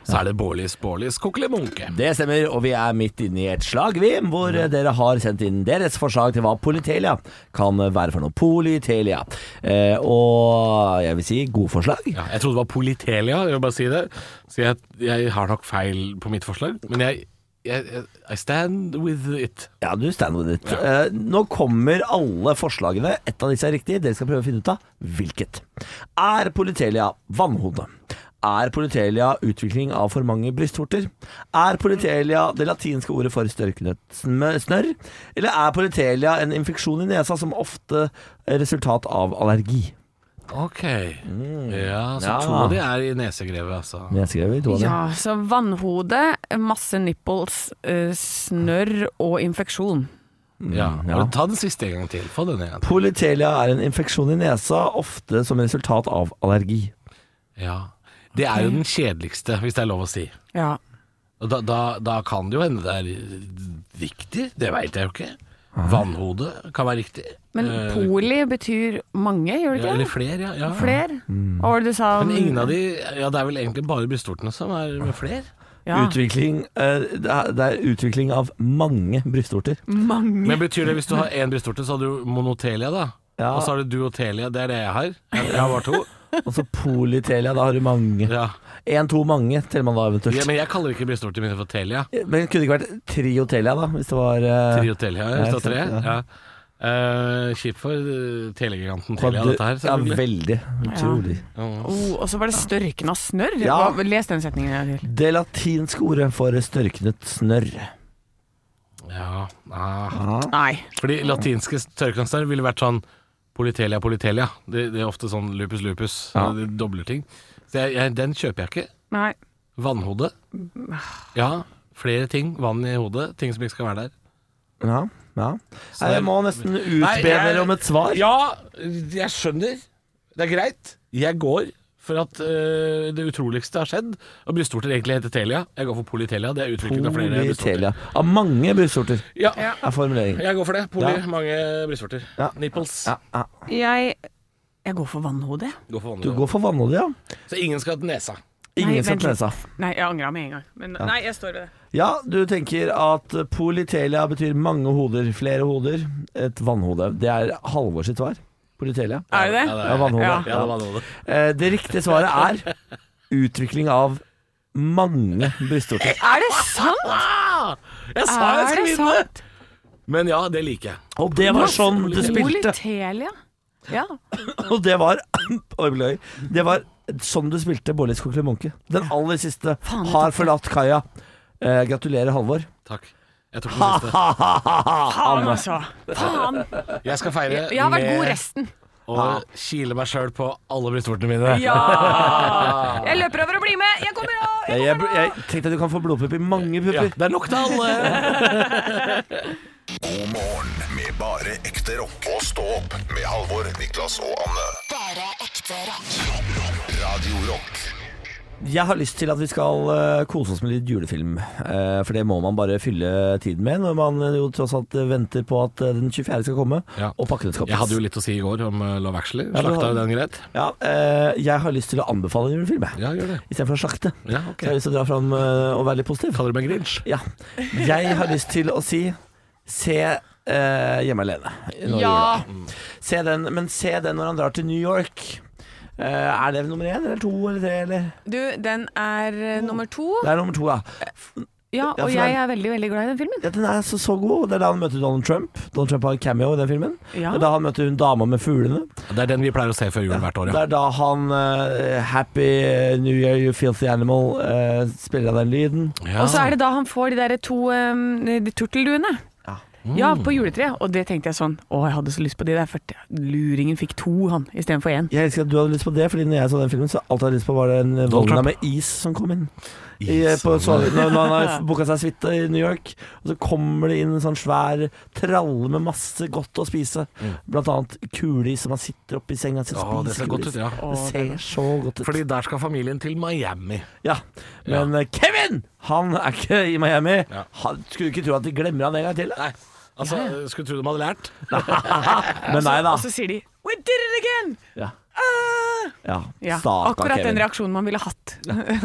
Speaker 3: Så er det Bårlis, Bårlis, Kokkeli Munke.
Speaker 5: Det stemmer, og vi er midt inne i et slag, vi, hvor eh, dere har sendt inn deres forslag til hva Politelia kan være for noe. Politelia. Eh, og jeg vil si gode forslag.
Speaker 3: Ja, jeg trodde det var Politelia, jeg vil bare si det. Så jeg, jeg har nok feil på mitt forslag. Men jeg jeg, jeg, I stand with it.
Speaker 5: Ja, du stand with it. Eh, nå kommer alle forslagene. Ett av disse er riktig. Dere skal prøve å finne ut av hvilket. Er Politelia vannhode? Er Politelia utvikling av for mange brystvorter? Er Politelia det latinske ordet for størknet sm- snørr? Eller er Politelia en infeksjon i nesa som ofte er resultat av allergi?
Speaker 3: Ok. Mm. Ja, så
Speaker 5: Ja.
Speaker 3: to av de er i nesegrevet, altså.
Speaker 5: Jeg skrev i to av dem.
Speaker 4: Ja, så vannhode, masse nipples, eh, snørr og infeksjon.
Speaker 3: Mm, Ja.
Speaker 5: ja.
Speaker 3: Ta den siste en gang til. Få den igjen.
Speaker 5: Politelia er en infeksjon i nesa, ofte som resultat av allergi.
Speaker 3: Ja. Det er jo den kjedeligste, hvis det er lov å si.
Speaker 4: Ja.
Speaker 3: Og da, da, da kan det jo hende det er riktig, det veit jeg jo ikke. Vannhode kan være riktig.
Speaker 4: Men
Speaker 3: Eh,
Speaker 4: poli betyr mange, gjør det
Speaker 3: ja, Eller
Speaker 4: ikke?
Speaker 3: fler, ja. ja.
Speaker 4: Fler? Og hva var det du sa om
Speaker 3: Men ingen av de Ja, det er vel egentlig bare brystvortene som er med fler.
Speaker 4: ja.
Speaker 5: Utvikling, eh, det er- det er utvikling av mange brystvorter.
Speaker 4: Mange.
Speaker 3: Men betyr det hvis du har én brystvorte, så har du monotelia, da?
Speaker 5: Ja.
Speaker 3: Og så har du duotelia, det er det jeg har. Jeg jeg har bare to.
Speaker 5: Og så politelia, da har du mange.
Speaker 3: Ja.
Speaker 5: Én, to, mange, teller man da eventuelt.
Speaker 3: Ja, men jeg kaller ikke brystvortene mine for telia.
Speaker 5: Men kunne det ikke vært triotelia, da? Hvis det var eh,
Speaker 3: Triotelia,
Speaker 5: Ja,
Speaker 3: hvis
Speaker 5: ikke
Speaker 3: det er
Speaker 5: sant,
Speaker 3: tre. Ja. Eh, Kjipt for eh, telegiganten Telia,
Speaker 5: hadde-
Speaker 3: dette her.
Speaker 5: Ja,
Speaker 3: selvfølgelig.
Speaker 5: veldig. Utrolig.
Speaker 4: Oh, og så var det størken av snørr.
Speaker 5: Ja.
Speaker 4: Hva- Les den setningen en gang til.
Speaker 5: Det latinske ordet for størknet snørr.
Speaker 3: Ja, ah.
Speaker 4: Nei.
Speaker 3: Fordi latinske tørrkranser ville vært sånn Politelia, politelia. Det, det er ofte sånn lupus, lupus.
Speaker 5: Ja.
Speaker 3: Det dobler ting. Så jeg, jeg, den kjøper jeg ikke.
Speaker 4: Nei.
Speaker 3: Vannhode. Ja, flere ting. Vann i hodet. Ting som ikke skal være der.
Speaker 5: Ja, ja. Nei, jeg må nesten utbe
Speaker 3: Nei, jeg-
Speaker 5: dere om et svar.
Speaker 3: Ja, jeg skjønner. Det er greit. Jeg går for at øh, det utroligste har skjedd. Og brystvorter egentlig heter Telia. Jeg går for Politelia. Det er utvikling av flere brystvorter.
Speaker 5: Politelia. Av mange brystvorter,
Speaker 3: Ja,
Speaker 5: er formuleringen.
Speaker 3: jeg går for det. Poli,
Speaker 5: Ja.
Speaker 3: mange brystvorter.
Speaker 5: Ja.
Speaker 3: Nipples.
Speaker 5: Ja, ja.
Speaker 4: Jeg Jeg går for vannhode.
Speaker 3: Går for
Speaker 5: Du
Speaker 3: vannhode.
Speaker 5: går for vannhode, ja.
Speaker 3: Så ingen skal til nesa.
Speaker 5: Ingen
Speaker 4: Nei,
Speaker 5: skal
Speaker 4: vent
Speaker 5: kle
Speaker 4: litt.
Speaker 5: seg.
Speaker 4: Nei, jeg angra med en gang. Men nei, jeg står ved det.
Speaker 5: Ja, du tenker at politelia betyr mange hoder, flere hoder, et vannhode. Det er Halvor sitt svar. Politelia.
Speaker 4: Er det det?
Speaker 3: Ja, det
Speaker 5: Ja, vannhode.
Speaker 3: Ja,
Speaker 4: Ja.
Speaker 3: det er vannhode.
Speaker 5: Eh, Det riktige svaret er utvikling av mange brystvorter.
Speaker 4: Er det sant?!
Speaker 3: Ah, jeg sa jeg
Speaker 4: Er
Speaker 3: skulle
Speaker 4: det
Speaker 3: vinne!
Speaker 4: sant?
Speaker 3: Men ja, det liker jeg.
Speaker 5: Og det var sånn det spilte.
Speaker 4: Politelia. Ja.
Speaker 5: Og det var [CLEARS THROAT] Oi, beklager. Det var sånn du spilte Bårdis kokkelimonke. Den aller siste
Speaker 4: Faen, jeg
Speaker 5: har
Speaker 4: tapte.
Speaker 5: forlatt kaia. Eh, gratulerer, Halvor.
Speaker 3: Takk. Jeg tok den siste.
Speaker 4: Faen, altså. Faen.
Speaker 3: Jeg skal feire
Speaker 4: Jeg har vært god
Speaker 3: med
Speaker 4: resten.
Speaker 5: [LAUGHS]
Speaker 3: å kile meg sjøl på alle brystvortene mine.
Speaker 4: Ja! Jeg løper over og blir med! Jeg kommer av!
Speaker 5: Jeg, jeg, jeg tenkte at du kan få blodpupp i mange
Speaker 3: Ja,
Speaker 5: pupper.
Speaker 3: det er nok til alle.
Speaker 2: God morgen med bare ekte rock. Og stå opp med Halvor, Niklas og Anne.
Speaker 1: Bare ekte rock.
Speaker 2: Rock, rock, Radio Rock.
Speaker 5: Jeg har lyst til at vi skal eh, kose oss med litt julefilm. eh, for det må man bare fylle tiden med når man eh, jo tross alt eh, venter på at eh, den 24. skal komme
Speaker 3: Ja.
Speaker 5: og pakkene
Speaker 3: [LAUGHS]
Speaker 5: skal
Speaker 3: Jeg hadde jo
Speaker 5: pakkes.
Speaker 3: litt å si i går om eh, Love Actually.
Speaker 5: Ja, du
Speaker 3: Slakta
Speaker 5: hadde-
Speaker 3: jo den greit?
Speaker 5: Ja, eh, jeg har lyst til å anbefale en julefilm, jeg.
Speaker 3: Ja, gjør det.
Speaker 5: Istedenfor å slakte.
Speaker 3: Ja, ok.
Speaker 5: Så jeg har lyst til å dra fram eh, og være litt positiv.
Speaker 3: Kaller du meg Grinch?
Speaker 5: Ja. Jeg har lyst til å si se eh, Hjemme alene. nå i
Speaker 4: Ja.
Speaker 5: jula. Se den, men se den når han drar til New York. Eh, er det nummer én eller to eller tre? Eller?
Speaker 4: Du, den er eh, nummer to.
Speaker 5: Det er nummer to, ja.
Speaker 4: Ja,
Speaker 5: Ja,
Speaker 4: og
Speaker 5: for
Speaker 4: jeg
Speaker 5: den-
Speaker 4: er veldig, veldig glad i den filmen.
Speaker 5: Ja, den er så, så god. Det er da han møter Donald Trump. Donald Trump har en cameo i den filmen.
Speaker 4: Ja.
Speaker 5: Det er da han møter hun dama med fuglene.
Speaker 3: Det er den vi pleier å se før jul hvert år,
Speaker 5: Det
Speaker 3: ja.
Speaker 5: er da han eh, Happy New Year, You Filthy Animal eh, spiller av den lyden.
Speaker 3: ja.
Speaker 4: Og så er det da han får de der to um, de turtelduene.
Speaker 5: Ja. Mm.
Speaker 4: Ja, på juletreet. Og det tenkte jeg sånn Å, jeg hadde så lyst på de der. For luringen fikk to, han, istedenfor én.
Speaker 5: Jeg elsker at du hadde lyst på det, Fordi når jeg så den filmen, så alt jeg hadde lyst på, var den vogna
Speaker 3: Trump.
Speaker 5: med is som kom inn. I, eh, på, så, når, når han har booka seg suite i New York, og så kommer det inn en sånn svær tralle med masse godt å spise. Blant annet kuleis som han sitter oppi senga si og
Speaker 3: Å, Mm. det
Speaker 5: spiser.
Speaker 3: ser godt ut,
Speaker 5: kuleis.
Speaker 3: ja.
Speaker 5: Det ser så godt ut.
Speaker 3: Fordi der skal familien til Miami.
Speaker 5: Ja, men eh, Kevin, han er ikke i Miami.
Speaker 3: Ja.
Speaker 5: Han, skulle ikke tro at de glemmer han en gang til.
Speaker 3: Nei, altså, skulle tro de hadde lært. altså,
Speaker 5: Men nei da.
Speaker 4: Og så sier de We did it again!
Speaker 5: Ja,
Speaker 4: Ah!
Speaker 5: ja.
Speaker 4: Ja,
Speaker 5: Stakkars
Speaker 4: akkurat den
Speaker 5: Kevin.
Speaker 4: reaksjonen man ville hatt.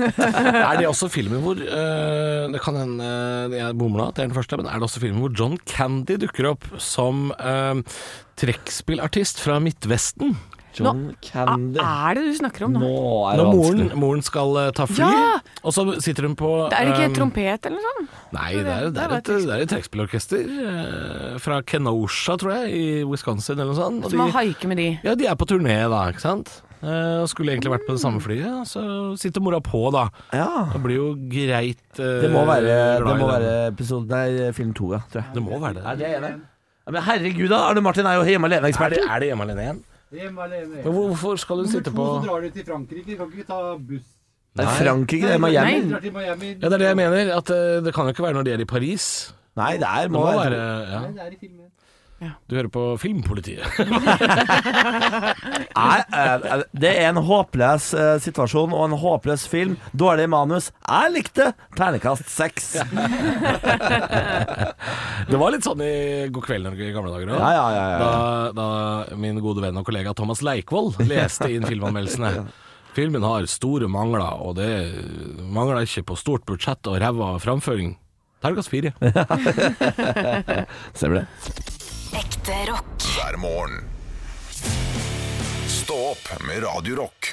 Speaker 3: Er det også filmen hvor øh, Det kan hende øh, jeg bommer nå, at det er den første, men er det også filmen hvor John Candy dukker opp som øh, trekkspillartist fra eh, Midtvesten?
Speaker 5: John Candy.
Speaker 4: Hva er det du snakker om
Speaker 5: Nå
Speaker 4: Ah, nå?
Speaker 5: er det
Speaker 3: Når moren,
Speaker 5: vanskelig.
Speaker 3: moren skal eh, ta fly,
Speaker 4: Ja!
Speaker 3: og så sitter hun på
Speaker 4: Det er ikke
Speaker 3: eh,
Speaker 5: Um,
Speaker 4: trompet eller noe sånt?
Speaker 3: Nei, det er, det
Speaker 4: Det
Speaker 3: er
Speaker 4: var
Speaker 3: et, det er et trekkspillorkester eh, fra Kenosha, tror jeg, i Wisconsin eller noe sånt. og
Speaker 4: Som
Speaker 3: de-
Speaker 4: å haike med de.
Speaker 3: Ja, de er på turné da, ikke sant? Eh, og skulle egentlig vært på det samme flyet, så sitter mora på da.
Speaker 5: Ja.
Speaker 3: Det blir jo greit eh,
Speaker 5: Det må være,
Speaker 3: glad
Speaker 5: det
Speaker 3: i
Speaker 5: må
Speaker 3: den.
Speaker 5: være episode, nei, film to, ja. Tror jeg.
Speaker 3: Det må være det.
Speaker 5: Er det jeg er enig? Ja, Men herregud, da! Arne Martin er jo hjemme
Speaker 3: Er
Speaker 5: alene-ekspert.
Speaker 3: det, er det hjemme alene igjen?
Speaker 11: Hjemme alene.
Speaker 3: Men hvor- hvorfor skal hun sitte på
Speaker 11: Så drar du til Frankrike, kan ikke ta buss.
Speaker 5: Det er Frankrike, det er Miami.
Speaker 11: Drar til Miami.
Speaker 3: Ja, det er det jeg mener. At eh, det kan jo ikke være når de er i Paris.
Speaker 5: Nei, det er,
Speaker 3: Det
Speaker 5: må
Speaker 3: må
Speaker 5: være
Speaker 3: være ja.
Speaker 11: Nei, det er i filmen.
Speaker 3: Du hører på
Speaker 5: [LAUGHS]
Speaker 3: Filmpolitiet.
Speaker 5: Nei, eh, det er en håpløs eh, situasjon og en håpløs film. Dårlig manus. Jeg likte ternekast seks. Ja,
Speaker 3: Det var litt sånn i God kveld Norge i gamle dager òg.
Speaker 5: ja, ja. ja, ja.
Speaker 3: Da, da min gode venn og kollega Thomas Leikvoll leste
Speaker 5: [LAUGHS]
Speaker 3: inn filmanmeldelsene. Filmen har store mangler, og det mangler ikke på stort budsjett og ræva framføring. Terningkast fire.
Speaker 5: Ser du det?
Speaker 1: Ekte rock.
Speaker 2: hver morgen. Stå opp med Radio Rock.